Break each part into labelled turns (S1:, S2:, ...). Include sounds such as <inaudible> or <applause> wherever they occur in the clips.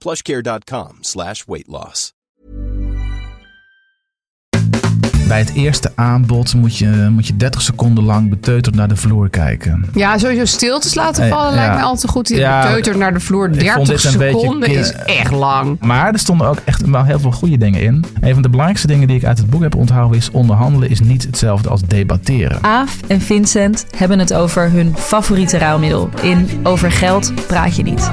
S1: plushcare.com slash weight loss.
S2: Bij het eerste aanbod moet je, moet je 30 seconden lang beteuterd naar de vloer kijken.
S3: Ja, sowieso stiltes laten
S2: Eh,
S3: vallen lijkt
S2: ja.
S3: mij altijd een goed. idee.
S2: Ja,
S3: Beteuterd naar de vloer.
S2: ik vond
S3: 30
S2: dit een beetje
S3: seconden is
S2: ke-
S3: echt lang.
S2: Maar er stonden ook echt wel heel veel goede dingen in. Een van de belangrijkste dingen die ik uit het boek heb onthouden is... onderhandelen is niet hetzelfde als debatteren.
S4: Aaf en Vincent hebben het over hun favoriete ruilmiddel. In Over geld praat je niet.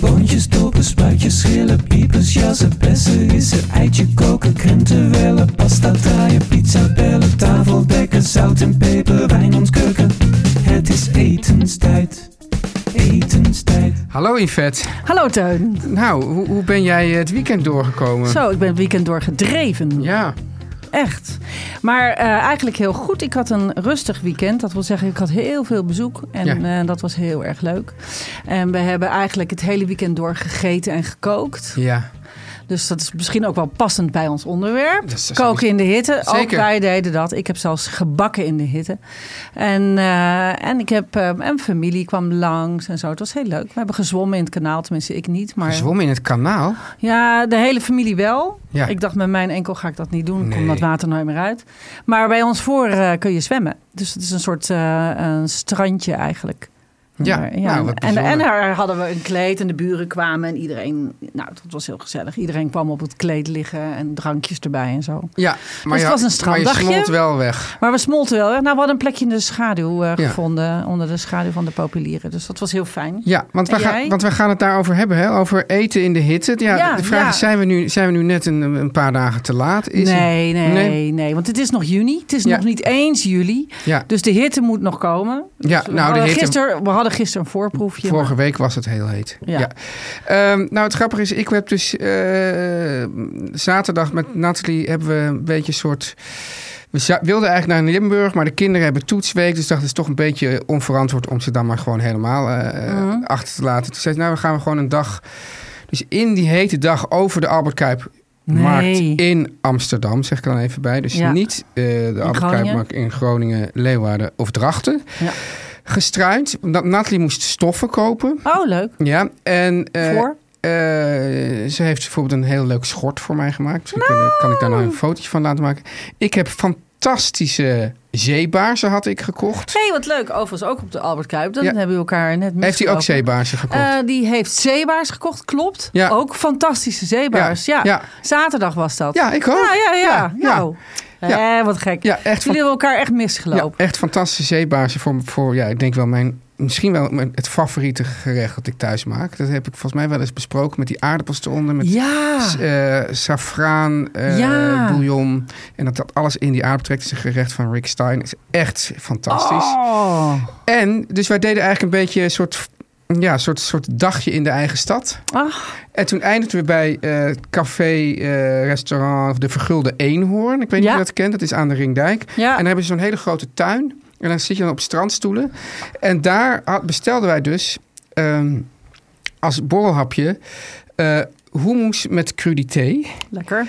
S5: Boontjes, dopen, spuitjes, schillen, piepers, jassen, bessen, rissen, eitje koken, krenten wellen, pasta draaien, pizza bellen, tafel dekken, zout en peper, wijn ontkurken. Het is etenstijd, etenstijd.
S6: Hallo Yvette.
S7: Hallo Teun.
S6: Nou, hoe, hoe ben jij het weekend doorgekomen?
S7: Zo, ik ben het weekend doorgedreven.
S6: Ja,
S7: Echt. Maar eh, eigenlijk heel goed. Ik had een rustig weekend. Dat wil zeggen, ik had heel veel bezoek. En
S6: Ja.
S7: eh, dat was heel erg leuk. En we hebben eigenlijk het hele weekend door gegeten en gekookt.
S6: ja.
S7: Dus dat is misschien ook wel passend bij ons onderwerp.
S6: Dat is- dat is-
S7: Koken in de hitte. Ook
S6: Zeker.
S7: wij deden dat. Ik heb zelfs gebakken in de hitte. En, eh, en ik heb... eh, en familie kwam langs en zo. Het was heel leuk. We hebben gezwommen in het kanaal. Tenminste, ik niet. Maar...
S6: Zwom in het kanaal.
S7: Ja, de hele familie wel.
S6: Ja.
S7: Ik dacht, met mijn enkel ga ik dat niet doen.
S6: Nee.
S7: Komt dat water nooit meer uit. Maar bij ons voor eh, kun je zwemmen. Dus het is een soort eh, een strandje eigenlijk.
S6: Ja,
S7: Maar,
S6: nou, wat
S7: en, en
S6: bijzonder.
S7: daar hadden we een kleed en de buren kwamen en iedereen... Nou, dat was heel gezellig. Iedereen kwam op het kleed liggen en drankjes erbij en zo.
S6: Ja, maar,
S7: het was een
S6: je, maar je
S7: stranddagje.
S6: smolt wel weg.
S7: Maar we smolten wel. hè. Nou, we hadden een plekje in de schaduw eh,
S6: Ja.
S7: gevonden. Onder de schaduw van de populieren. Dus dat was heel fijn.
S6: Ja, want we,
S7: En
S6: gaan,
S7: jij?
S6: want we gaan het daarover hebben, hè? over eten in de hitte. Ja,
S7: Ja,
S6: de vraag
S7: ja.
S6: is, zijn we, nu, zijn we nu net een, een paar dagen te laat? Is
S7: nee, nee,
S6: Nee.
S7: nee, Want het is nog juni. Het is
S6: Ja.
S7: nog niet eens juli.
S6: Ja.
S7: Dus de hitte moet nog komen.
S6: Ja,
S7: we,
S6: nou, de
S7: hadden
S6: hitte-
S7: gister, we hadden Oh, gisteren een voorproefje.
S6: Vorige
S7: maar-
S6: week was het heel heet. Ja.
S7: Ja.
S6: Ehm, nou, het grappige is, ik heb dus eh, zaterdag met Nathalie hebben we een beetje een soort. We za- wilden eigenlijk naar Limburg, maar de kinderen hebben toetsweek. Dus dacht, het is toch een beetje onverantwoord om ze dan maar gewoon helemaal eh, achter te laten. Toen zei ze, nou, we gaan we gewoon een dag. Dus in die hete dag over de Albert Kuip. Markt
S7: Nee.
S6: in Amsterdam, zeg ik er dan even bij. Dus
S7: Ja.
S6: niet eh, de Albert
S7: Groningen?
S6: Kuipmarkt in Groningen, Leeuwarden of Drachten.
S7: Ja.
S6: Gestruind, omdat Nathalie moest stoffen kopen.
S7: Oh, leuk.
S6: Ja, en eh,
S7: Voor?
S6: eh, ze heeft bijvoorbeeld een heel leuk schort voor mij gemaakt. Misschien kunnen- kan ik daar nou een fotootje van laten maken. Ik heb fantastische zeebaarzen had ik gekocht.
S7: Hé, wat leuk. Overigens ook op de Albert Kuip. Dan
S6: Ja.
S7: hebben we elkaar net
S6: heeft hij ook
S7: misgelopen.
S6: zeebaarzen gekocht?
S7: Eh, die heeft zeebaars gekocht, klopt.
S6: Ja.
S7: Ook fantastische zeebaars.
S6: Ja,
S7: Ja.
S6: ja.
S7: Zaterdag was dat.
S6: Ja, ik ook.
S7: Ja, ja, ja.
S6: Ja, ja.
S7: Nou,
S6: Ja.
S7: Eh, wat gek.
S6: Ja, echt
S7: Jullie
S6: van-
S7: hebben elkaar echt
S6: ja,
S7: misgelopen.
S6: echt fantastische zeebaarzen voor, voor ja, ik denk wel mijn, misschien wel mijn, het favoriete gerecht dat ik thuis maak. Dat heb ik volgens mij wel eens besproken met die aardappels eronder, met
S7: Ja.
S6: s- eh, saffraan, eh,
S7: Ja.
S6: bouillon. En dat dat alles in die aardappel trekt is een gerecht van Rick Stein. is echt fantastisch.
S7: Oh.
S6: En dus wij deden eigenlijk een beetje een soort, ja, een soort, soort dagje in de eigen stad.
S7: Ach,
S6: En toen eindigden we bij eh café, eh, restaurant De Vergulde Eenhoorn. Ik weet niet
S7: Ja.
S6: of je dat kent, dat is aan de Ringdijk.
S7: Ja.
S6: En daar hebben ze zo'n hele grote tuin. En dan zit je dan op strandstoelen. En daar had- bestelden wij dus ehm, als borrelhapje eh hummus met crudité.
S7: lekker.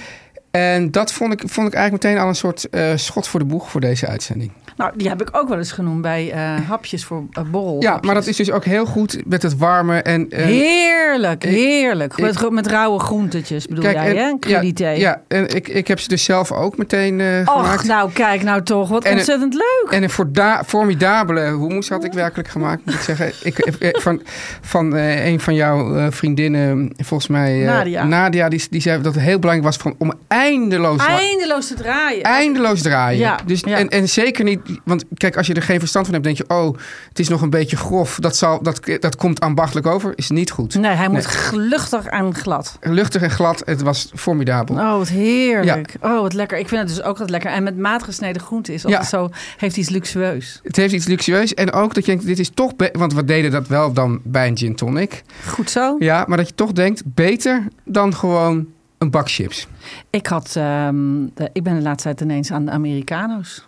S6: En dat vond ik, vond ik eigenlijk meteen al een soort eh, schot voor de boeg voor deze uitzending.
S7: Nou, die heb ik ook wel eens genoemd bij eh, hapjes voor eh, borrel.
S6: Ja, maar dat is dus ook heel goed met het warme en... eh,
S7: Heerlijk,
S6: Ik-
S7: heerlijk.
S6: ik-
S7: met, ro- met rauwe groentetjes bedoel jij,
S6: en-
S7: hè? Een
S6: ja,
S7: crudité.
S6: ja, en ik, ik heb ze dus zelf ook meteen eh,
S7: Och,
S6: gemaakt.
S7: nou kijk nou toch. Wat
S6: En een-
S7: ontzettend leuk.
S6: En een forda- formidabele hummus had ik werkelijk gemaakt, moet ik zeggen. Ik, eh, van van eh, een van jouw eh, vriendinnen, volgens mij eh,
S7: Nadia.
S6: Nadia die, die zei dat het heel belangrijk was van, om eindeloos,
S7: Eindeloos te draaien.
S6: eindeloos draaien.
S7: Ja,
S6: dus,
S7: ja.
S6: En, en zeker niet, want kijk, als je er geen verstand van hebt, denk je, oh, het is nog een beetje grof, dat, zal, dat, dat komt ambachtelijk over, is niet goed.
S7: Nee, hij moet
S6: Nee.
S7: gluchtig en glad.
S6: Luchtig en glad, het was formidabel.
S7: Oh, wat heerlijk. Oh, wat lekker. Ik vind het dus ook wat lekker. En met maat gesneden groente is altijd
S6: Ja.
S7: zo, heeft iets luxueus.
S6: Het heeft iets luxueus en ook dat je denkt, dit is toch, be- want we deden dat wel dan bij een gin tonic.
S7: Goed zo.
S6: Ja, maar dat je toch denkt, beter dan gewoon een bak chips.
S7: Ik, had, ehm, de- ik ben de laatste tijd ineens aan de Americano's.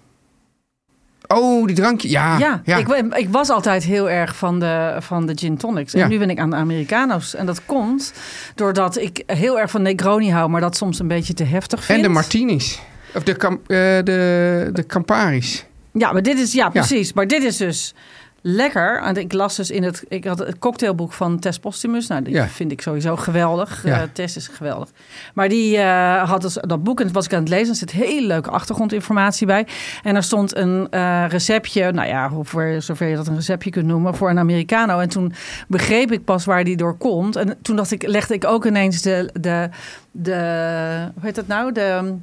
S6: Oh, die drankje. Ja,
S7: ja,
S6: ja.
S7: Ik, ben- ik was altijd heel erg van de, van de gin tonics. En
S6: Ja.
S7: nu ben ik aan de Americano's. En dat komt doordat ik heel erg van Negroni hou, maar dat soms een beetje te heftig vind.
S6: en de martinis. Of de, cam- eh, de, de Camparis.
S7: Ja, maar dit is, ja, precies. Maar dit is dus lekker. En ik las dus in het, ik had het cocktailboek van Tess Postumus. Nou, die
S6: Ja.
S7: vind ik sowieso geweldig.
S6: Ja.
S7: Eh, Tess is geweldig. Maar die eh, had dus dat boek en dat was ik aan het lezen. Er zit hele leuke achtergrondinformatie bij. En er stond een eh, receptje, nou ja, of voor zover je dat een receptje kunt noemen, voor een Americano. En toen begreep ik pas waar die door komt. En toen dacht ik, legde ik ook ineens de, de, de hoe heet dat nou? De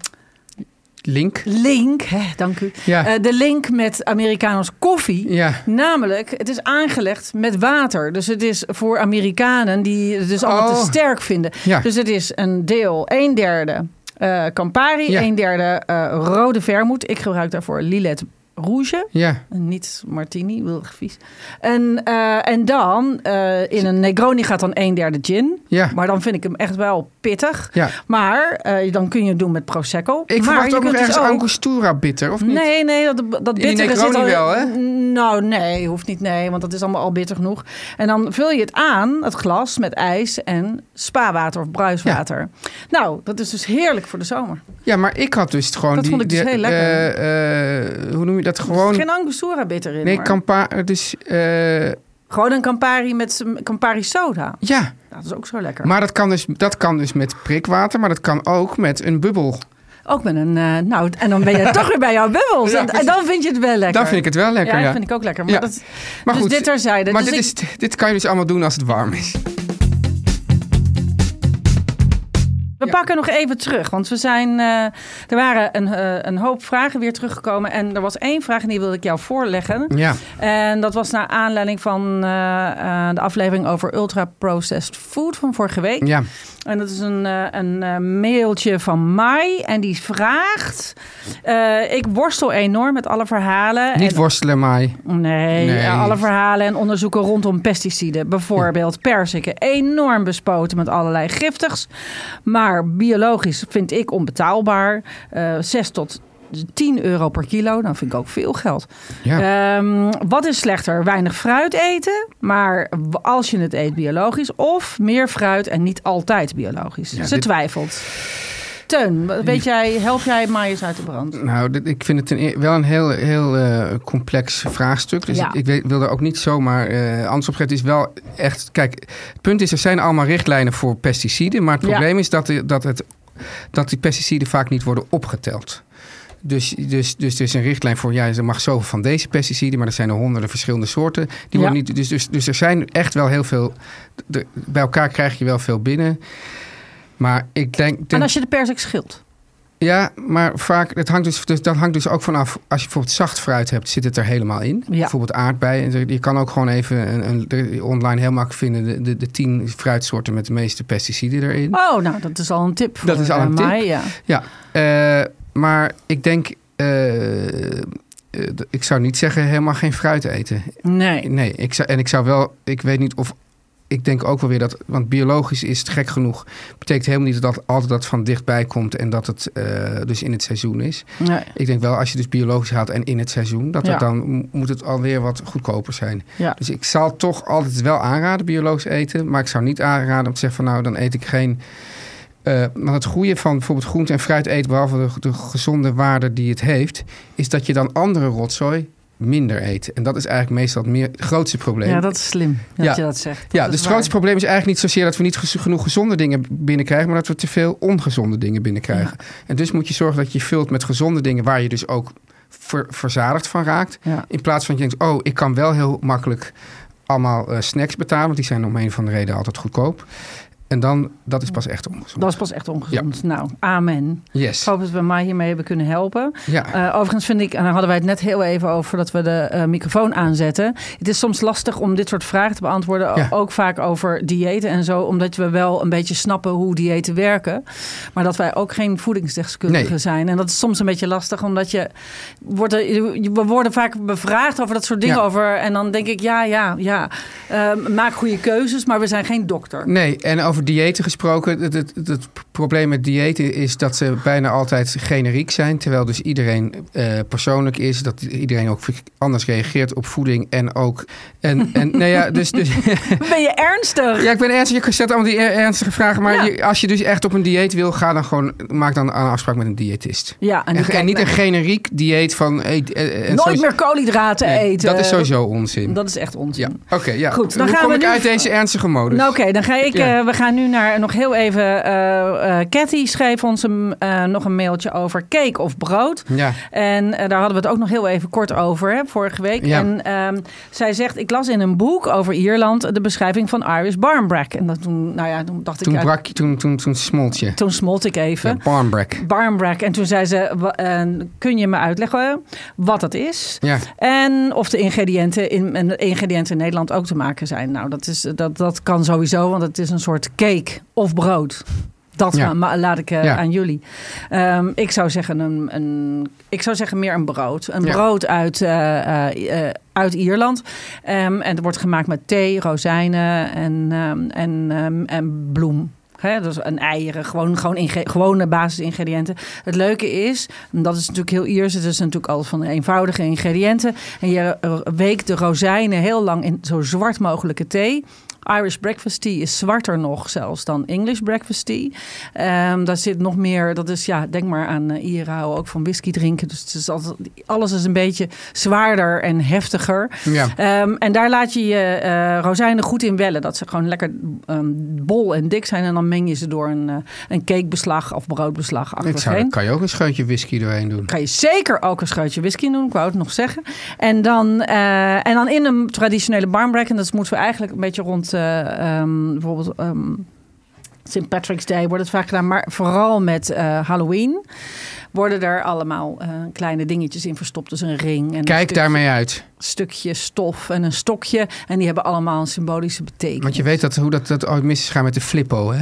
S6: Link.
S7: link, hè, dank u.
S6: Ja.
S7: Eh, de link met Amerikanos koffie.
S6: Ja.
S7: Namelijk, het is aangelegd met water. Dus het is voor Amerikanen die het dus allemaal
S6: Oh.
S7: te sterk vinden.
S6: Ja.
S7: Dus het is een deel, een derde eh, Campari,
S6: Ja.
S7: een derde eh, rode vermoed. Ik gebruik daarvoor Lillet Rouge.
S6: Ja.
S7: Niet martini, wil vies. En, eh, en dan eh, in een Negroni gaat dan een derde gin.
S6: Ja.
S7: Maar dan vind ik hem echt wel pittig.
S6: Ja.
S7: Maar eh, dan kun je het doen met Prosecco.
S6: Ik
S7: maar
S6: verwacht
S7: je
S6: ook nog
S7: kunt dus
S6: ergens Angostura bitter, of niet?
S7: Nee, nee, dat, dat
S6: die
S7: bittere zit
S6: Negroni
S7: al...
S6: wel, hè?
S7: Nou, nee, hoeft niet, nee, want dat is allemaal al bitter genoeg. En dan vul je het aan, het glas, met ijs en spaarwater of bruiswater. Nou, dat is dus heerlijk voor de zomer.
S6: Ja, maar ik had dus gewoon
S7: Dat
S6: die...
S7: vond ik dus
S6: die-
S7: heel lekker.
S6: eh, eh, hoe noem je dat?
S7: Er zit
S6: Gewoon...
S7: geen Angostura bitter in,
S6: Nee,
S7: hoor.
S6: Campari. Dus, eh,
S7: Gewoon een Campari met z'n- Campari soda.
S6: ja,
S7: Nou, dat is ook zo lekker.
S6: maar dat kan, dus, dat kan dus met prikwater, maar dat kan ook met een bubbel.
S7: Ook met een... eh, nou, en dan ben
S6: <laughs>
S7: je toch weer bij jouw bubbels.
S6: Ja,
S7: en, en dan vind je het wel lekker.
S6: Dan vind ik het wel lekker,
S7: Ja,
S6: ja.
S7: dat vind ik ook lekker. Maar,
S6: Ja.
S7: dat,
S6: Maar
S7: dus
S6: goed,
S7: dit terzijde.
S6: Maar
S7: Dus
S6: dit,
S7: ik-
S6: is, dit kan je dus allemaal doen als het warm is.
S7: We
S6: Ja.
S7: pakken nog even terug, want we zijn, eh, er waren een, eh, een hoop vragen weer teruggekomen. En er was één vraag en die wilde ik jou voorleggen.
S6: Ja.
S7: En dat was naar aanleiding van eh, eh, de aflevering over ultra-processed food van vorige week.
S6: Ja.
S7: En dat is een, eh, een eh, mailtje van Mai. En die vraagt, eh, ik worstel enorm met alle verhalen.
S6: Niet
S7: en
S6: worstelen, Mai.
S7: Nee,
S6: Nee.
S7: ja, alle verhalen en onderzoeken rondom pesticiden. Bijvoorbeeld perziken, enorm bespoten met allerlei giftigs. Maar biologisch vind ik onbetaalbaar. Eh 6 tot 10 euro per kilo, dan vind ik ook veel geld.
S6: Ja.
S7: Ehm, wat is slechter? Weinig fruit eten, maar w- als je het eet biologisch. Of meer fruit en niet altijd biologisch.
S6: Ja,
S7: Ze
S6: dit-
S7: twijfelt. Teun, w- weet jij, help jij Maaiers uit de brand?
S6: Nou, dit- ik vind het een, e- wel een heel, heel eh, complex vraagstuk. Dus
S7: Ja.
S6: ik, ik weet- wil daar ook niet zomaar eh antwoord op geven. Het is wel echt... Kijk, het punt is, er zijn allemaal richtlijnen voor pesticiden. Maar het
S7: Ja.
S6: probleem is dat, de- dat, het, dat die pesticiden vaak niet worden opgeteld. Dus, dus, dus er is een richtlijn voor, ja, er mag zoveel van deze pesticiden, maar er zijn er honderden verschillende soorten. Die worden niet, dus, dus, dus er zijn echt wel heel veel, de- bij elkaar krijg je wel veel binnen. Maar ik denk...
S7: En
S6: denk-
S7: als je de perzik schilt?
S6: ja, maar vaak, het hangt dus, dus, dat hangt dus ook vanaf. Als je bijvoorbeeld zacht fruit hebt, zit het er helemaal in.
S7: Ja.
S6: Bijvoorbeeld aardbeien. En zo- Je kan ook gewoon even een, een, de- online heel makkelijk vinden de, de, de tien fruitsoorten met de meeste pesticiden erin.
S7: Oh, nou, dat is al een tip voor
S6: Dat is al
S7: eh,
S6: een tip.
S7: Mai, ja.
S6: Ja, eh, maar ik denk, eh, eh, d- ik zou niet zeggen helemaal geen fruit eten.
S7: Nee.
S6: Nee, ik zou, en ik zou wel, ik weet niet of. Ik denk ook wel weer dat, want biologisch is het gek genoeg. Betekent helemaal niet dat altijd dat van dichtbij komt en dat het eh, dus in het seizoen is.
S7: nee.
S6: Ik denk wel, als je dus biologisch haalt en in het seizoen, dat
S7: Ja.
S6: het dan m- moet het alweer wat goedkoper zijn.
S7: Ja.
S6: Dus ik zal toch altijd wel aanraden biologisch eten, maar ik zou niet aanraden om te zeggen van nou, dan eet ik geen eh, eh, want het goede van bijvoorbeeld groente en fruit eten, behalve de, de gezonde waarde die het heeft, is dat je dan andere rotzooi minder eet. En dat is eigenlijk meestal het, meer, het grootste probleem.
S7: Ja, dat is slim dat
S6: Ja.
S7: je dat zegt.
S6: Ja,
S7: Dat
S6: dus
S7: is
S6: het grootste
S7: waar.
S6: probleem is eigenlijk niet zozeer dat we niet gez- genoeg gezonde dingen binnenkrijgen, maar dat we te veel ongezonde dingen binnenkrijgen. En dus moet je zorgen dat je vult met gezonde dingen waar je dus ook ver- verzadigd van raakt.
S7: Ja.
S6: In plaats van dat je denkt, oh, ik kan wel heel makkelijk allemaal eh, snacks betalen, want die zijn om een van de reden altijd goedkoop. En dan, dat is pas echt ongezond.
S7: Dat is pas echt ongezond. Nou, amen. Ik
S6: Yes.
S7: hoop dat we mij hiermee hebben kunnen helpen.
S6: Ja.
S7: Eh, overigens vind ik, en daar hadden wij het net heel even over voordat we de eh, microfoon aanzetten. Het is soms lastig om dit soort vragen te beantwoorden.
S6: Ja.
S7: Ook vaak over diëten en zo. Omdat we wel een beetje snappen hoe diëten werken. Maar dat wij ook geen voedingsdeskundigen
S6: Nee.
S7: zijn. En dat is soms een beetje lastig. Omdat je wordt, er- je- we worden vaak bevraagd over dat soort dingen.
S6: Ja.
S7: Over, en dan denk ik, ja, ja, ja. Eh, maak goede keuzes, maar we zijn geen dokter.
S6: Nee, en over diëten gesproken. Het, het, het probleem met diëten is dat ze bijna altijd generiek zijn. Terwijl dus iedereen eh, persoonlijk is. Dat iedereen ook anders reageert op voeding. En ook. En, en nou ja, dus. dus <laughs>
S7: Ben je ernstig?
S6: ja, ik ben ernstig. Je stelt allemaal die er- ernstige vragen. Maar je- als je dus echt op een dieet wil, ga dan gewoon. Maak dan een afspraak met een diëtist.
S7: Ja,
S6: En,
S7: die
S6: en
S7: kijkt
S6: niet
S7: naar-
S6: een generiek dieet van. eh, eh, eh,
S7: Nooit
S6: sowieso-
S7: meer koolhydraten
S6: Nee,
S7: eten.
S6: Dat is sowieso onzin.
S7: Dat is echt onzin.
S6: Ja, oké. ja.
S7: Goed, dan
S6: Hoe
S7: gaan
S6: kom
S7: we
S6: ik
S7: nu-
S6: uit deze ernstige modus?
S7: Nou, Oké, dan ga ik.
S6: Ja.
S7: eh, we gaan nu naar nog heel even. eh, eh, Cathy schreef ons een, eh, nog een mailtje over cake of brood.
S6: Ja.
S7: En eh, daar hadden we het ook nog heel even kort over hè, vorige week.
S6: Ja.
S7: En ehm, zij zegt: Ik las in een boek over Ierland de beschrijving van Irish barnbrack. En dat toen, nou ja, toen dacht
S6: Toen,
S7: ik. ja,
S6: brak, je- toen, toen, toen smolt je.
S7: toen smolt ik even.
S6: Ja, barnbreak.
S7: Barnbrack. En toen zei ze: wa- en Kun je me uitleggen wat dat is?
S6: Ja.
S7: En of de ingrediënten in, en de ingrediënten in Nederland ook te maken zijn. Nou, dat, is, dat, dat kan sowieso, want het is een soort cake of brood. Dat
S6: Ja.
S7: gaan- maar laat ik eh,
S6: Ja.
S7: aan jullie. Ehm, ik, zou zeggen een, een, ik zou zeggen meer een brood. Een
S6: Ja.
S7: brood uit, eh, eh, eh, uit Ierland. Ehm, en het wordt gemaakt met thee, rozijnen en, ehm, en, ehm, en bloem. Hè, dus en eieren, gewoon, gewoon inge- gewone basisingrediënten. Het leuke is, en dat is natuurlijk heel Iers, het is natuurlijk al van eenvoudige ingrediënten. En je eh, weekt de rozijnen heel lang in zo zwart mogelijke thee. Irish breakfast tea is zwarter nog zelfs dan English breakfast tea. Ehm, daar zit nog meer, dat is ja, denk maar aan eh, Ieren houden ook van whisky drinken. Dus het is altijd, alles is een beetje zwaarder en heftiger.
S6: Ja.
S7: Ehm, en daar laat je je eh, rozijnen goed in wellen. Dat ze gewoon lekker ehm, bol en dik zijn. En dan meng je ze door een, eh, een cakebeslag of broodbeslag
S6: Ik zou,
S7: achterheen.
S6: daar kan je ook een scheutje whisky doorheen doen.
S7: Kan je zeker ook een scheutje whisky doen, ik wou het nog zeggen. En dan, eh, en dan in een traditionele barnbrack, en dat moeten we eigenlijk een beetje rond eh, ehm, bijvoorbeeld ehm, St. Patrick's Day wordt het vaak gedaan, maar vooral met eh, Halloween worden er allemaal eh, kleine dingetjes in verstopt. Dus een ring en een
S6: Kijk
S7: stuk-
S6: daarmee uit.
S7: stukje stof en een stokje. En die hebben allemaal een symbolische betekenis.
S6: Want je weet dat, hoe dat, dat ooit mis is gaan met de Flippo, hè?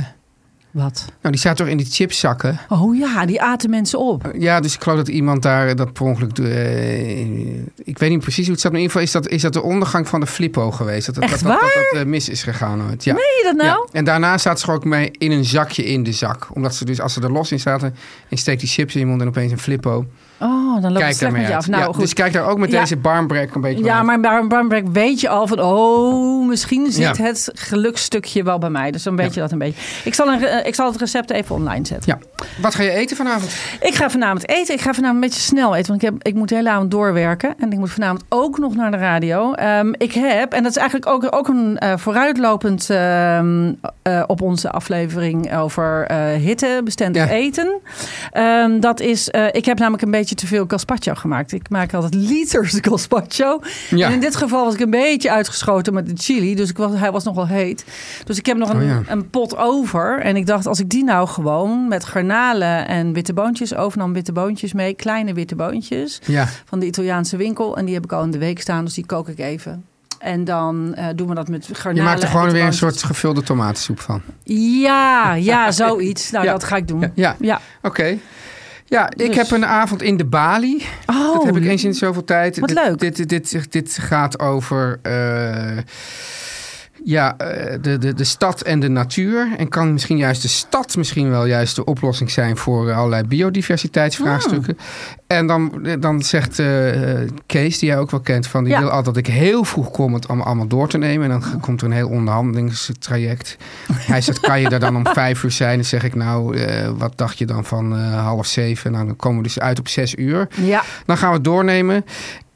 S7: Wat?
S6: Nou, die staat toch in die chipzakken?
S7: Oh ja, die aten mensen op.
S6: Ja, dus ik geloof dat iemand daar eh, dat per ongeluk... eh, ik weet niet precies hoe het staat, maar in ieder geval is dat, is dat de ondergang van de Flippo geweest. Dat dat, dat,
S7: Echt
S6: dat,
S7: waar?
S6: dat, eh, mis is gegaan ooit. Ja.
S7: Zie je dat nou?
S6: Ja. En daarna staat ze er ook mee in een zakje in de zak. Omdat ze dus, als ze er los in zaten, en steekt die chips in je mond en opeens een Flippo.
S7: Oh, dan loopt het
S6: Kijk
S7: slecht
S6: daarmee
S7: met je
S6: uit.
S7: af. Nou,
S6: Ja,
S7: goed.
S6: Dus kijk daar ook met
S7: Ja.
S6: deze barmbrek een beetje
S7: Ja,
S6: uit.
S7: maar bij een barnbrack weet je al van... oh, misschien zit
S6: Ja.
S7: het gelukstukje wel bij mij. Dus dan weet je dat een beetje. Ik zal, een, eh, ik zal het recept even online zetten.
S6: Ja. Wat ga je eten vanavond?
S7: Ik ga vanavond eten. Ik ga vanavond een beetje snel eten. Want ik, heb, ik moet de hele avond doorwerken. En ik moet vanavond ook nog naar de radio. Ehm, ik heb, en dat is eigenlijk ook, ook een eh, vooruitlopend ehm, eh, op onze aflevering over eh, hittebestendig
S6: Ja.
S7: eten. Ehm, dat is, eh, ik heb namelijk een beetje te veel gazpacho gemaakt. Ik maak altijd liters gazpacho.
S6: Ja.
S7: En in dit geval was ik een beetje uitgeschoten met de chili. Dus ik was, hij was nogal heet. Dus ik heb nog een,
S6: Oh ja.
S7: een pot over. En ik dacht, als ik die nou gewoon met garnalen en witte boontjes overnam, witte boontjes mee, kleine witte boontjes
S6: Ja.
S7: van de Italiaanse winkel. En die heb ik al in de week staan, dus die kook ik even. En dan eh, doen we dat met
S6: Je
S7: garnalen.
S6: maakt er
S7: en
S6: gewoon
S7: witte
S6: weer een
S7: boontjes.
S6: soort gevulde tomatensoep van. <laughs>
S7: Ja, ja, zoiets. Nou,
S6: Ja.
S7: dat ga ik doen.
S6: Ja.
S7: Ja.
S6: Oké. Ja, ik
S7: Dus-
S6: heb een avond in de Bali.
S7: Oh,
S6: dat heb ik eens in zoveel tijd.
S7: wat
S6: dit,
S7: leuk.
S6: Dit, dit, dit, dit gaat over eh, ja, eh, de, de, de stad en de natuur. En kan misschien juist de stad misschien wel juist de oplossing zijn voor eh, allerlei biodiversiteitsvraagstukken. En dan, dan zegt eh, eh, Kees, die jij ook wel kent, van die
S7: Ja. Oh.
S6: wil altijd dat ik heel vroeg kom het allemaal, allemaal door te nemen. En dan komt er een heel onderhandelingstraject. Hij zegt, kan je daar dan om vijf uur zijn? Dan zeg ik, nou, eh, wat dacht je dan van eh, half zeven? Nou, dan komen we dus uit op zes uur.
S7: Ja,
S6: Dan gaan we het doornemen.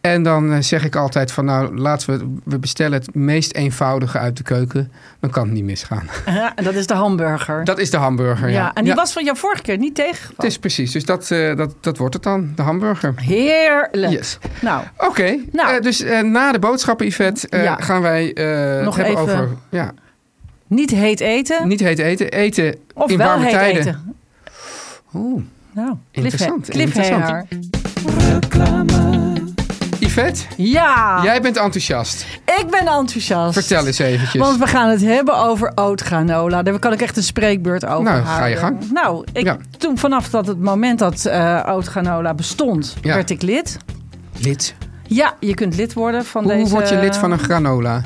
S6: En dan eh, zeg ik altijd van nou, laten we, we bestellen het meest eenvoudige uit de keuken. Dan kan het niet misgaan.
S7: Ja, en dat is de hamburger.
S6: Dat is de hamburger.
S7: ja.
S6: Ja,
S7: en die was van jou vorige keer niet tegengevallen.
S6: Het is precies. Dus dat, eh, dat, dat wordt het dan, de hamburger.
S7: Heerlijk.
S6: Yes.
S7: Nou,
S6: Oké,
S7: Nou.
S6: eh, dus eh, na de boodschappen-event eh,
S7: Ja.
S6: gaan wij eh,
S7: Nog
S6: het hebben
S7: even-
S6: over ja,
S7: niet heet eten
S6: niet heet eten, eten
S7: of
S6: in
S7: wel
S6: warme
S7: heet
S6: tijden.
S7: eten.
S6: Oeh,
S7: Nou,
S6: Interessant,
S7: cliffha- cliffhanger.
S6: Yvette,
S7: Ja,
S6: jij bent enthousiast.
S7: ik ben enthousiast.
S6: Vertel eens eventjes.
S7: Want we gaan het hebben over oatgranola. Daar kan ik echt een spreekbeurt over
S6: Nou, ga
S7: houden.
S6: je gang.
S7: Nou, ik,
S6: Ja.
S7: toen vanaf dat het moment dat eh oatgranola bestond,
S6: Ja.
S7: werd ik lid.
S6: Lid.
S7: Ja, je kunt lid worden van
S6: Hoe
S7: deze...
S6: word je lid van een granola?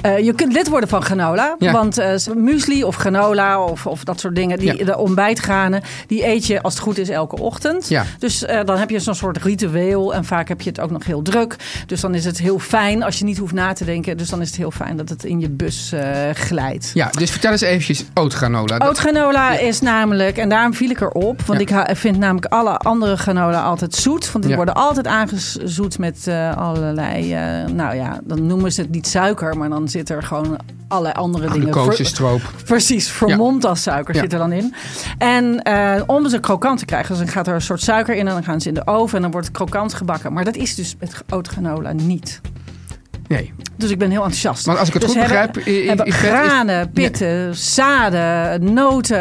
S7: Eh, je kunt lid worden van granola.
S6: Ja.
S7: Want eh, muesli of granola of, of dat soort dingen, die,
S6: Ja.
S7: de ontbijtgranen, die eet je als het goed is elke ochtend.
S6: Ja.
S7: Dus eh, dan heb je zo'n soort ritueel en vaak heb je het ook nog heel druk. Dus dan is het heel fijn als je niet hoeft na te denken. Dus dan is het heel fijn dat het in je bus eh, glijdt.
S6: Ja, dus vertel eens eventjes ootgranola. Dat-
S7: Oatgranola is namelijk, en daarom viel ik erop, want
S6: Ja.
S7: ik ha- vind namelijk alle andere granola altijd zoet. Want die
S6: Ja.
S7: worden altijd aangezoet met eh, allerlei, eh, nou ja, dan noemen ze het niet suiker, maar dan zit er gewoon allerlei andere dingen.
S6: Glucose,
S7: Ver-
S6: stroop.
S7: Precies, vermomd als suiker
S6: Ja.
S7: zit er dan in. En eh, om ze krokant te krijgen, dus dan gaat er een soort suiker in en dan gaan ze in de oven en dan wordt het krokant gebakken. Maar dat is dus met oatgranola niet.
S6: Nee.
S7: Dus ik ben heel enthousiast.
S6: Want als ik het
S7: Dus
S6: goed
S7: hebben-
S6: begrijp, i- i-
S7: hebben
S6: Yvette is-
S7: granen, pitten, zaden, noten.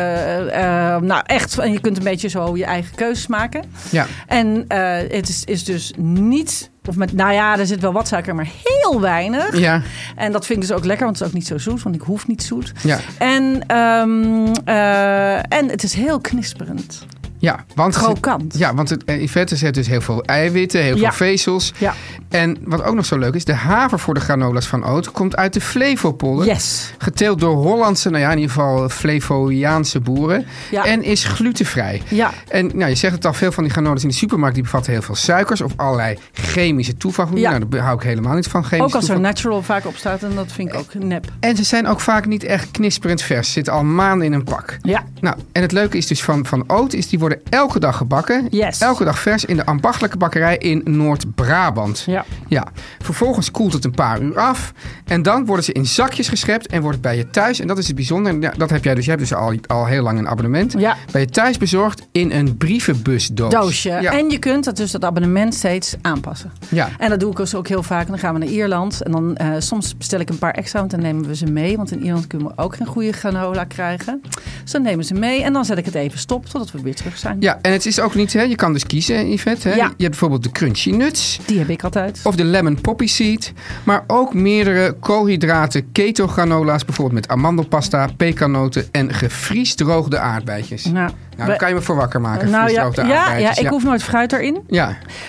S7: eh, eh, nou, echt. En je kunt een beetje zo je eigen keuzes maken.
S6: Ja.
S7: En eh, het is, is dus niet. Of met, nou ja, er zit wel wat suiker, maar heel weinig.
S6: Ja,
S7: En dat vind ik dus ook lekker, want het is ook niet zo zoet, want ik hoef niet zoet.
S6: ja,
S7: En, ehm, eh, en het is heel knisperend.
S6: ja. Want,
S7: Krokant.
S6: Ja, want het, eh, Yvette zet dus heel veel eiwitten, heel
S7: Ja.
S6: veel vezels.
S7: Ja.
S6: En wat ook nog zo leuk is, de haver voor de granola's van Oot komt uit de Flevopolder.
S7: Yes.
S6: Geteeld door Hollandse, nou ja, in ieder geval Flevoiaanse boeren.
S7: Ja.
S6: En is glutenvrij.
S7: Ja.
S6: En nou, je zegt het al, veel van die granolas in de supermarkt die bevatten heel veel suikers of allerlei chemische toevoegingen.
S7: Ja.
S6: Nou, daar hou ik helemaal niet van. Chemische
S7: Ook als er
S6: toevoegingen.
S7: natural vaak op staat, en dat vind ik ook nep.
S6: En ze zijn ook vaak niet echt knisperend vers. Zitten al maanden in een pak.
S7: Ja.
S6: Nou, en het leuke is dus van, van oot is, die worden elke dag gebakken.
S7: Yes.
S6: Elke dag vers in de ambachtelijke bakkerij in Noord-Brabant.
S7: Ja.
S6: Ja. Vervolgens koelt het een paar uur af. En dan worden ze in zakjes geschept en wordt het bij je thuis. En dat is het bijzondere. Ja, dat heb jij dus. Je hebt dus al, al heel lang een abonnement.
S7: Ja.
S6: Bij je thuis bezorgd in een brievenbusdoos.
S7: doosje.
S6: Ja.
S7: En je kunt dat dus dat abonnement steeds aanpassen.
S6: Ja.
S7: En dat doe ik dus ook heel vaak. Dan gaan we naar Ierland. En dan eh, soms bestel ik een paar extra, want dan nemen we ze mee. Want in Ierland kunnen we ook geen goede granola krijgen. Dus dan nemen ze mee en dan zet ik het even stop totdat we weer terug zijn.
S6: Ja, en het is ook niet, hè, je kan dus kiezen, Yvette. Hè?
S7: Ja.
S6: Je hebt bijvoorbeeld de crunchy nuts.
S7: Die heb ik altijd.
S6: Of de lemon poppy seed. Maar ook meerdere koolhydraten, keto granola's. Bijvoorbeeld met amandelpasta, pekanoten en gevriesdroogde aardbeidjes. Nou,
S7: nou,
S6: daar
S7: we-
S6: kan je me voor wakker maken.
S7: nou ja,
S6: gevriesdroogde
S7: ja, ja,
S6: aardbeidjes.
S7: ik hoef nooit fruit erin.
S6: Ja.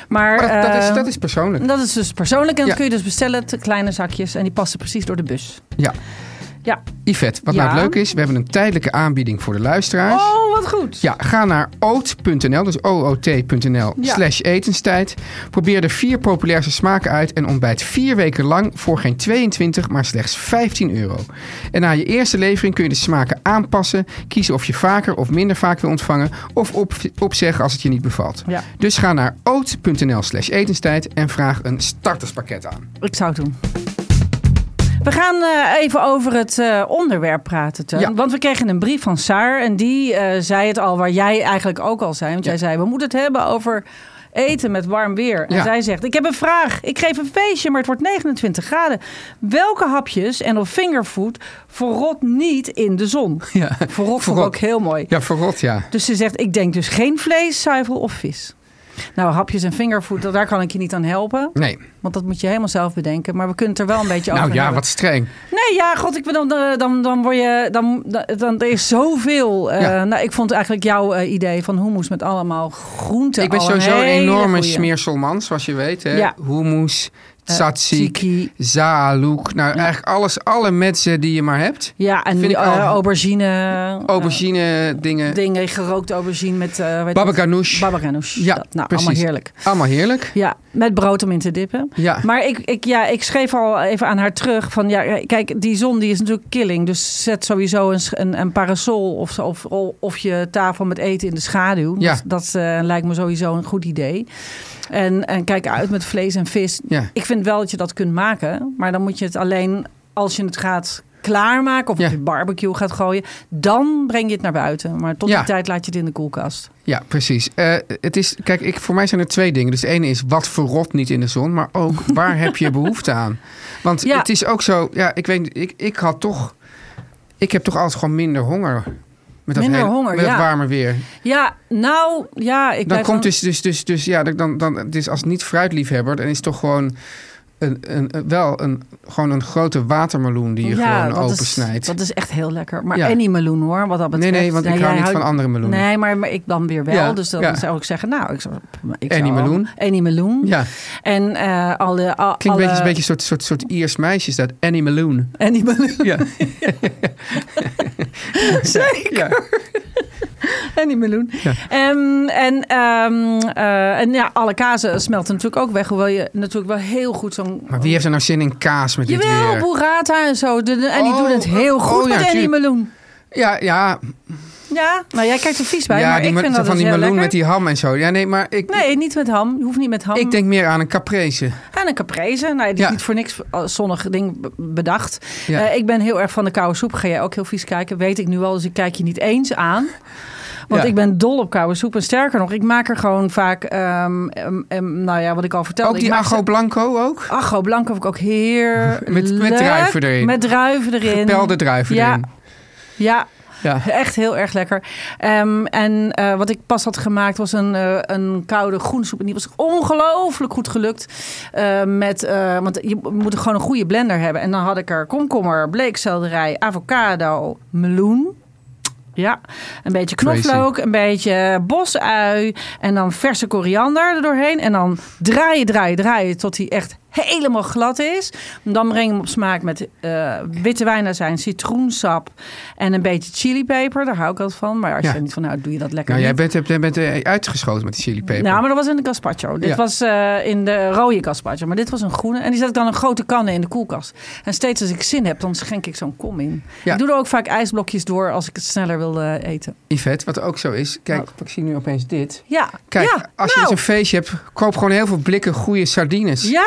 S7: Maar,
S6: Maar Oh, dat, dat is,
S7: eh,
S6: dat is persoonlijk.
S7: dat is dus persoonlijk. En dat
S6: Ja.
S7: kun je dus bestellen, te kleine zakjes. En die passen precies door de bus.
S6: Ja.
S7: Ja.
S6: Yvette, wat
S7: Ja.
S6: nou leuk is, we hebben een tijdelijke aanbieding voor de luisteraars.
S7: Oh, wat goed.
S6: Ja, ga naar oot.nl, dus oot.nl
S7: Ja.
S6: slash etenstijd. Probeer de vier populairste smaken uit en ontbijt vier weken lang voor geen 22, maar slechts 15 euro. En na je eerste levering kun je de smaken aanpassen, kiezen of je vaker of minder vaak wil ontvangen of op, opzeggen als het je niet bevalt.
S7: Ja.
S6: Dus ga naar oot.nl slash etenstijd en vraag een starterspakket aan.
S7: Ik zou het doen. We gaan eh, even over het eh, onderwerp praten, Teun.
S6: Ja.
S7: Want we kregen een brief van Saar. En die eh, zei het al waar jij eigenlijk ook al zei. Want jij zei, we moeten het hebben over eten met warm weer. En
S6: Ja.
S7: zij zegt, ik heb een vraag. Ik geef een feestje, maar het wordt 29 graden. Welke hapjes en of fingerfood verrot niet in de zon?
S6: Ja.
S7: Verrot vond ik
S6: Verrot.
S7: ook heel mooi.
S6: Ja, verrot ja.
S7: Dus ze zegt, ik denk dus geen vlees, zuivel of vis. Nou, hapjes en fingerfood, dat- daar kan ik je niet aan helpen.
S6: Nee.
S7: Want dat moet je helemaal zelf bedenken. Maar we kunnen het er wel een beetje
S6: Nou
S7: over
S6: ja,
S7: hebben.
S6: wat streng.
S7: Nee, ja, god, ik ben dan, eh, dan, dan word je... Dan, dan, dan- er is zoveel... eh,
S6: Ja.
S7: Nou, ik vond eigenlijk jouw eh, idee van hummus met allemaal groenten
S6: Ik ben
S7: al
S6: sowieso
S7: een
S6: een
S7: hele
S6: enorme
S7: goeie.
S6: smeerselman, zoals je weet. Hè?
S7: Ja. Eh,
S6: Hummus, tzatziki,
S7: tzatziki.
S6: zaalouk. Nou, eigenlijk alles, alle mensen die je maar hebt.
S7: Ja, en
S6: Vind
S7: die,
S6: ik al-
S7: eh, aubergine.
S6: Aubergine, dingen.
S7: eh, dingen, gerookte aubergine met... eh weet ik-
S6: Babaganoush.
S7: Babaganoush.
S6: Ja,
S7: Dat, nou,
S6: precies.
S7: allemaal heerlijk.
S6: Allemaal heerlijk.
S7: Ja, met brood om in te dippen.
S6: Ja.
S7: Maar ik, ik, ja, ik schreef al even aan haar terug van ja, kijk, die zon die is natuurlijk killing. Dus zet sowieso een, sch- een, een parasol of, zo, of, of je tafel met eten in de schaduw.
S6: Ja.
S7: Dat, dat, eh, lijkt me sowieso een goed idee. En, en kijk uit met vlees en vis.
S6: Ja.
S7: Ik vind wel dat je dat kunt maken, maar dan moet je het alleen als je het gaat klaarmaken of
S6: Ja.
S7: op je barbecue gaat gooien, dan breng je het naar buiten. Maar tot
S6: Ja.
S7: die tijd laat je het in de koelkast.
S6: Ja, precies. Eh, het is, kijk, ik, voor mij zijn er twee dingen. Dus de ene is wat verrot niet in de zon, maar
S7: <laughs>
S6: ook waar heb je behoefte aan? Want
S7: Ja.
S6: het is ook zo, ja, ik weet, niet, ik, ik had toch, ik heb toch altijd gewoon minder honger. Met dat
S7: Minder honger,
S6: met
S7: ja.
S6: dat warme weer.
S7: Ja, nou, ja, ik
S6: dan
S7: blijf
S6: komt dus, dus, dus, dus, ja, dan, dan, dus als niet fruitliefhebber, dan is toch gewoon een, een, een- wel een, gewoon een grote watermeloen die je gewoon
S7: dat
S6: opensnijdt.
S7: Is, dat is echt heel lekker. Maar
S6: Ja.
S7: en die meloen hoor, wat dat
S6: nee,
S7: betreft.
S6: nee, want ik
S7: jij
S6: hou niet
S7: houdt-
S6: van andere meloenen.
S7: Nee, maar, maar ik dan weer wel.
S6: Ja,
S7: Dus dan
S6: ja.
S7: zou ik zeggen, nou, ik zou... Ik
S6: En die
S7: zou-
S6: meloen.
S7: En die meloen.
S6: Ja,
S7: En eh, alle... al-
S6: klinkt een beetje,
S7: alle-
S6: een beetje een soort, soort, soort Iers meisjes dat, Annie Meloen.
S7: En die meloen.
S6: Ja.
S7: Zeker.
S6: <laughs> Ja.
S7: En die meloen. Ehm, en, ehm, eh, en ja, alle kazen smelten natuurlijk ook weg. Hoewel je natuurlijk wel heel goed zo'n...
S6: Maar wie heeft er nou zin in kaas met dit
S7: Jawel,
S6: weer?
S7: burrata en zo. De- de- en die
S6: Oh,
S7: doen het heel
S6: oh,
S7: goed
S6: ja,
S7: met en die
S6: tuurlijk.
S7: meloen.
S6: Ja, ja,
S7: Ja, nou jij kijkt er vies bij,
S6: ja
S7: maar
S6: die
S7: ik
S6: me-
S7: vind
S6: zo
S7: dat
S6: van
S7: dus
S6: die
S7: heel
S6: meloen
S7: lekker.
S6: met die ham en zo. Ja, nee, maar ik,
S7: Nee, niet met ham. Je hoeft niet met ham.
S6: ik denk meer aan een caprese.
S7: Aan een caprese. Nou, ja, die
S6: Ja.
S7: is niet voor niks eh, zonnig ding b- bedacht.
S6: Ja.
S7: Eh, ik ben heel erg van de koude soep. Ga jij ook heel vies kijken? Weet ik nu al, dus ik kijk je niet eens aan. Want
S6: Ja.
S7: ik ben dol op koude soep. En sterker nog, ik maak er gewoon vaak... ehm, ehm, ehm, nou ja, wat ik al vertelde.
S6: Ook die
S7: ik maak
S6: ajo
S7: ze-
S6: blanco ook?
S7: Agro Blanco heb ik ook heerlijk.
S6: Met- met druiven erin.
S7: Met druiven erin.
S6: Pelde druiven
S7: ja,
S6: erin.
S7: Ja,
S6: Ja.
S7: Echt heel erg lekker. Ehm, en eh, wat ik pas had gemaakt was een, eh, een koude groensoep. En die was ongelooflijk goed gelukt. Eh, met, eh, want je moet gewoon een goede blender hebben. En dan had ik er komkommer, bleekselderij, avocado, meloen. Ja, een beetje
S6: Crazy.
S7: knoflook, een beetje bosui en dan verse koriander er doorheen. En dan draaien, draaien, draaien tot hij echt helemaal glad is. Dan breng je hem op smaak met eh, witte wijnazijn, citroensap en een beetje chilipeper. Daar hou ik altijd van. Maar als
S6: Ja.
S7: je er niet van houdt, doe je dat lekker
S6: Nou, jij
S7: niet.
S6: bent, jij bent eh, uitgeschoten met de chilipeper.
S7: Nou, maar dat was in de gazpacho. Dit
S6: Ja.
S7: was eh, in de rode gazpacho, maar dit was een groene. En die zet ik dan een grote kannen in de koelkast. En steeds als ik zin heb, dan schenk ik zo'n kom in.
S6: Ja.
S7: Ik doe er ook vaak ijsblokjes door als ik het sneller wil eh, eten.
S6: Yvette, wat ook zo is. Kijk, ik zie nu opeens dit.
S7: Ja,
S6: Kijk,
S7: Nou. ja,
S6: als je
S7: nou.
S6: eens een feestje hebt, koop gewoon heel veel blikken goede sardines.
S7: Ja,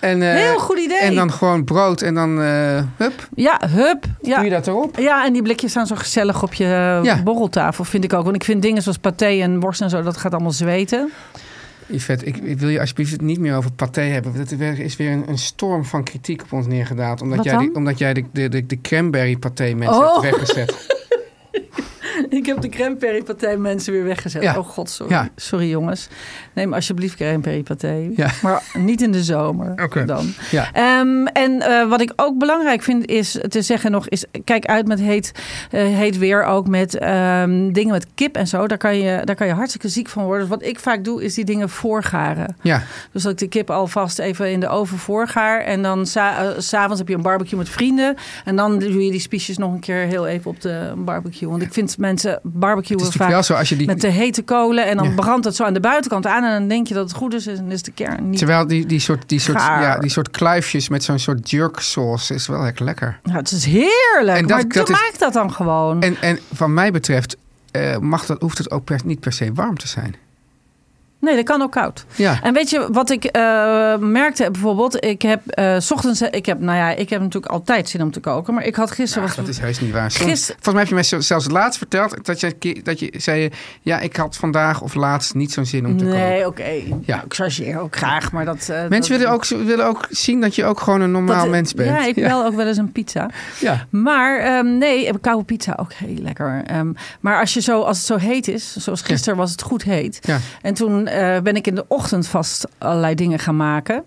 S6: en, eh,
S7: heel goed idee.
S6: En dan gewoon brood en dan, eh hup,
S7: ja, hup.
S6: doe je
S7: Ja.
S6: dat erop.
S7: ja, en die blikjes staan zo gezellig op je eh,
S6: Ja.
S7: borreltafel, vind ik ook. Want ik vind dingen zoals paté en worst en zo, dat gaat allemaal zweten.
S6: Yvette, ik, ik wil je alsjeblieft het niet meer over paté hebben. Want er is weer een, een storm van kritiek op ons neergedaald. Omdat
S7: Wat
S6: jij,
S7: dan?
S6: de, omdat jij de, de, de, de cranberry paté mensen
S7: Oh.
S6: hebt weggezet.
S7: <laughs> Ik heb de crème paté mensen weer weggezet.
S6: Ja.
S7: Oh god, sorry.
S6: Ja.
S7: Sorry jongens. Neem alsjeblieft crème paté.
S6: Ja.
S7: Maar niet in de zomer
S6: Oké.
S7: dan.
S6: Ja.
S7: Ehm, en eh, wat ik ook belangrijk vind is te zeggen nog is kijk uit met heet, eh, heet weer ook met ehm, dingen met kip en zo. Daar kan, je, daar kan je hartstikke ziek van worden. Dus wat ik vaak doe is die dingen voorgaren.
S6: Ja,
S7: Dus dat ik de kip alvast even in de oven voorgaar. En dan eh, s'avonds heb je een barbecue met vrienden. En dan doe je die spiesjes nog een keer heel even op de barbecue. Want ik vind mensen
S6: het is
S7: barbecuen
S6: natuurlijk wel
S7: vaak
S6: zo als je die...
S7: met de hete kolen. En dan
S6: Ja.
S7: brandt het zo aan de buitenkant aan. En dan denk je dat het goed is. En dan is de kern niet.
S6: Terwijl die, die, soort, die, soort,
S7: Gaar.
S6: ja, die soort kluifjes met zo'n soort jerk sauce is wel echt lekker.
S7: Nou, het is heerlijk.
S6: En dat-
S7: maar
S6: dat is-
S7: maak dat dan gewoon.
S6: En, en van mij betreft eh, mag dat, hoeft het ook per- niet per se warm te zijn.
S7: Nee, dat kan ook koud.
S6: Ja.
S7: En weet je wat ik eh, merkte bijvoorbeeld? Ik heb eh, 's ochtends. Ik heb, nou ja, ik heb natuurlijk altijd zin om te koken. Maar ik had gisteren.
S6: Ach,
S7: was,
S6: Ah, dat is heus niet waar. Soms-
S7: Gister-
S6: Volgens mij heb je mij zo- zelfs laatst verteld dat je, een keer- dat je zei... eh, Ja, ik had vandaag of laatst niet zo'n zin om te koken.
S7: Nee, oké.
S6: Ja.
S7: Nou, ik chargeer ook graag, maar dat... eh, dat-
S6: Mensen willen ook, ze willen ook zien dat je ook gewoon een
S7: dat-
S6: normaal mens bent.
S7: Ja, ik bel ook wel eens een pizza.
S6: Ja.
S7: Maar ehm, nee, eh, koude pizza ook heel lekker. Ehm, maar als, je zo, als het zo heet is, zoals gisteren was het goed heet.
S6: Ja.
S7: En toen eh, ben ik in de ochtend vast allerlei dingen gaan maken.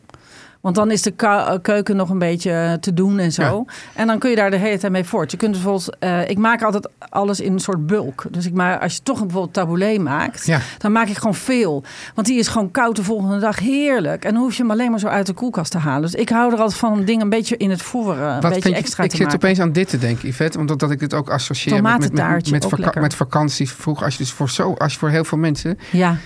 S7: Want dan is de ka- keuken nog een beetje eh, te doen en zo. En dan kun je daar de hele tijd mee voort. Je kunt bijvoorbeeld, eh, ik maak altijd alles in een soort bulk. Dus ik maak, als je toch een bijvoorbeeld taboulet maakt,
S6: Ja.
S7: dan maak ik gewoon veel. Want die is gewoon koud de volgende dag heerlijk. En dan hoef je hem alleen maar zo uit de koelkast te halen. Dus ik hou er altijd van om dingen een beetje in het voeren, een beetje
S6: vind je-
S7: extra
S6: ik
S7: te
S6: zit
S7: maken.
S6: opeens aan dit te denken, Yvette. Omdat dat ik het ook associeer met, met, met,
S7: Tomatentaartje,
S6: met,
S7: ook
S6: vaka-
S7: lekker.
S6: met vakanties. Vroeger, als je dus voor, zo, als je voor heel veel mensen...
S7: Ja.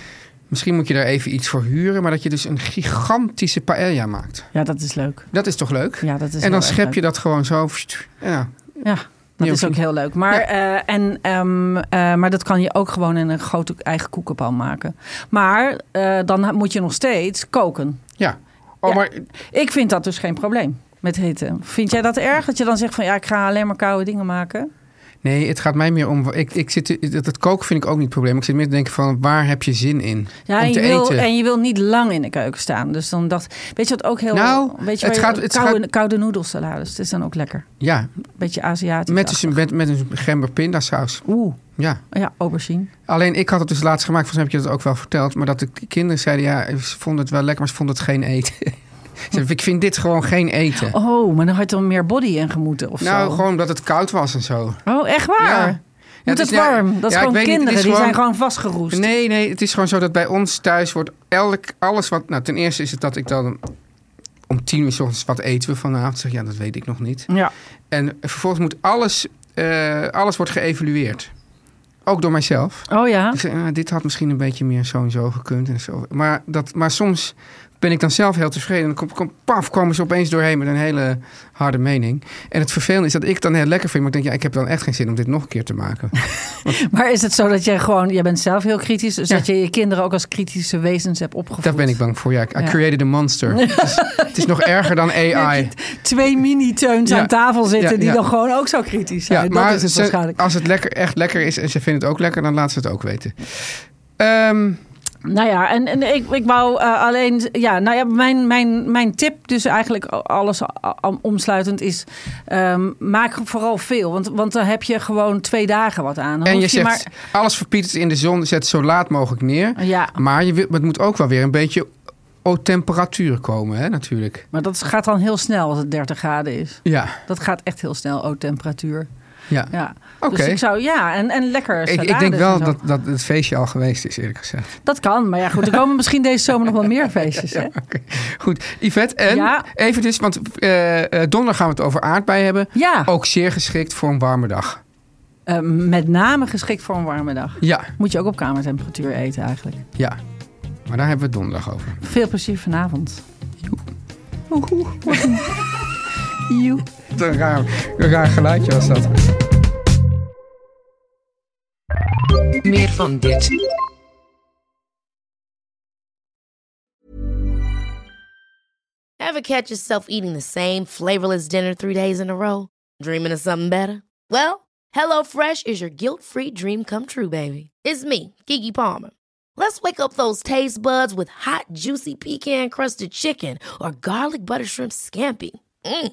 S6: Misschien moet je daar even iets voor huren. Maar dat je dus een gigantische paella maakt.
S7: ja, dat is leuk.
S6: Dat is toch leuk?
S7: Ja, dat is
S6: en
S7: heel
S6: dan
S7: erg
S6: schep
S7: leuk.
S6: je dat gewoon zo. pst, Ja. Ja,
S7: Ja, dat is ook
S6: misschien.
S7: heel leuk. Maar, eh, en, ehm, eh, maar dat kan je ook gewoon in een grote eigen koekenpan maken. Maar eh, dan moet je nog steeds koken.
S6: ja. Oh,
S7: Ja.
S6: maar
S7: Ik vind dat dus geen probleem met hitte. Vind jij dat erg? Dat je dan zegt van ja, ik ga alleen maar koude dingen maken?
S6: nee, het gaat mij meer om. Ik, ik zit, dat, dat koken vind ik ook niet het probleem. Ik zit meer te denken van waar heb je zin in?
S7: Ja,
S6: om
S7: en
S6: te
S7: je, wil,
S6: eten.
S7: en je wil niet lang in de keuken staan. Dus dan dacht, weet je wat ook heel...
S6: Nou,
S7: weet je
S6: het
S7: waar je-
S6: gaat- het
S7: koude,
S6: gaat-
S7: koude noedelsalades, dat is dan ook lekker.
S6: Ja,
S7: Beetje Aziatisch.
S6: met, dus een, met, met een gember pindasaus.
S7: Oeh,
S6: Ja.
S7: ja, aubergine.
S6: Alleen ik had het dus laatst gemaakt, volgens mij heb je dat ook wel verteld. Maar dat de k- kinderen zeiden, ja, ze vonden het wel lekker, maar ze vonden het geen eten. <laughs> Ze zeiden, ik vind dit gewoon geen eten.
S7: Oh, maar dan had je dan meer body en gemoeten of
S6: nou,
S7: zo.
S6: gewoon omdat het koud was en zo.
S7: Oh, echt waar?
S6: Ja.
S7: Moet
S6: het
S7: het
S6: is- ja,
S7: warm? dat
S6: ja,
S7: is
S6: ik
S7: gewoon
S6: weet niet, het
S7: kinderen,
S6: is
S7: die
S6: gewoon-
S7: zijn gewoon vastgeroest.
S6: Nee, nee, het is gewoon zo dat bij ons thuis wordt elk, alles wat... Nou, ten eerste is het dat ik dan om tien uur s ochtends wat eten we vanavond. Zeg, ja, dat weet ik nog niet.
S7: Ja.
S6: En vervolgens moet alles, eh, alles wordt geëvalueerd. Ook door mijzelf.
S7: Oh ja?
S6: Ik zeg, ah, dit had misschien een beetje meer zo en zo gekund. En zo. Maar, dat, maar soms ben ik dan zelf heel tevreden. En dan kom, kom, paf, komen ze opeens doorheen met een hele harde mening. En het vervelende is dat ik het dan heel lekker vind. Maar ik denk, ja, ik heb dan echt geen zin om dit nog een keer te maken.
S7: Maar is het zo dat jij gewoon... Jij bent zelf heel kritisch. Dus
S6: Ja.
S7: dat je je kinderen ook als kritische wezens hebt opgevoed.
S6: Daar ben ik bang voor. Ja, I
S7: Ja.
S6: created a
S7: <laughs>
S6: monster. Dus het is nog erger dan AI.
S7: Twee mini-teuns
S6: Ja.
S7: aan tafel zitten
S6: Ja,
S7: die
S6: ja.
S7: dan gewoon ook zo kritisch zijn.
S6: Ja,
S7: dat
S6: maar
S7: is het
S6: ze-
S7: waarschijnlijk.
S6: als het lekker, echt lekker is en ze vinden het ook lekker, dan laat ze het ook weten. Ehm,
S7: Nou ja, en, en ik, ik wou eh, alleen... Ja, nou ja, mijn, mijn, mijn tip dus eigenlijk alles a- a- omsluitend is... ehm, maak vooral veel. Want, want dan heb je gewoon twee dagen wat aan. Dan
S6: en
S7: hoef
S6: je zegt,
S7: maar-
S6: alles verpietert in de zon, zet het zo laat mogelijk neer.
S7: Ja,
S6: Maar je wil, het moet ook wel weer een beetje op temperatuur komen, hè, natuurlijk.
S7: maar dat gaat dan heel snel als het 30 graden is.
S6: Ja,
S7: Dat gaat echt heel snel, oh, temperatuur.
S6: ja.
S7: Ja.
S6: Oké.
S7: Dus ik zou, ja, en, en lekker
S6: Ik, ik
S7: salades
S6: denk wel
S7: en zo.
S6: dat, dat het feestje al geweest is, eerlijk gezegd.
S7: Dat kan, maar ja goed, er komen misschien deze zomer nog wel meer feestjes. Hè?
S6: <laughs> Ja, oké. Goed, Yvette, en
S7: Ja.
S6: even dus, want eh, eh, donderdag gaan we het over aardbei hebben.
S7: Ja,
S6: Ook zeer geschikt voor een warme dag.
S7: eh, met name geschikt voor een warme dag.
S6: Ja,
S7: Moet je ook op kamertemperatuur eten eigenlijk.
S6: ja. Maar daar hebben we het donderdag over. <laughs>
S7: Veel plezier vanavond. <laughs>
S6: Wat een raar, een raar geluidje was dat.
S8: Meer van dit.
S9: Ever catch yourself eating the same flavorless dinner three days in a row? Dreaming of something better? Well, HelloFresh is your guilt free dream come true, baby. It's me, Kiki Palmer. Let's wake up those taste buds with hot, juicy pecan crusted chicken or garlic butter shrimp scampi. Mm.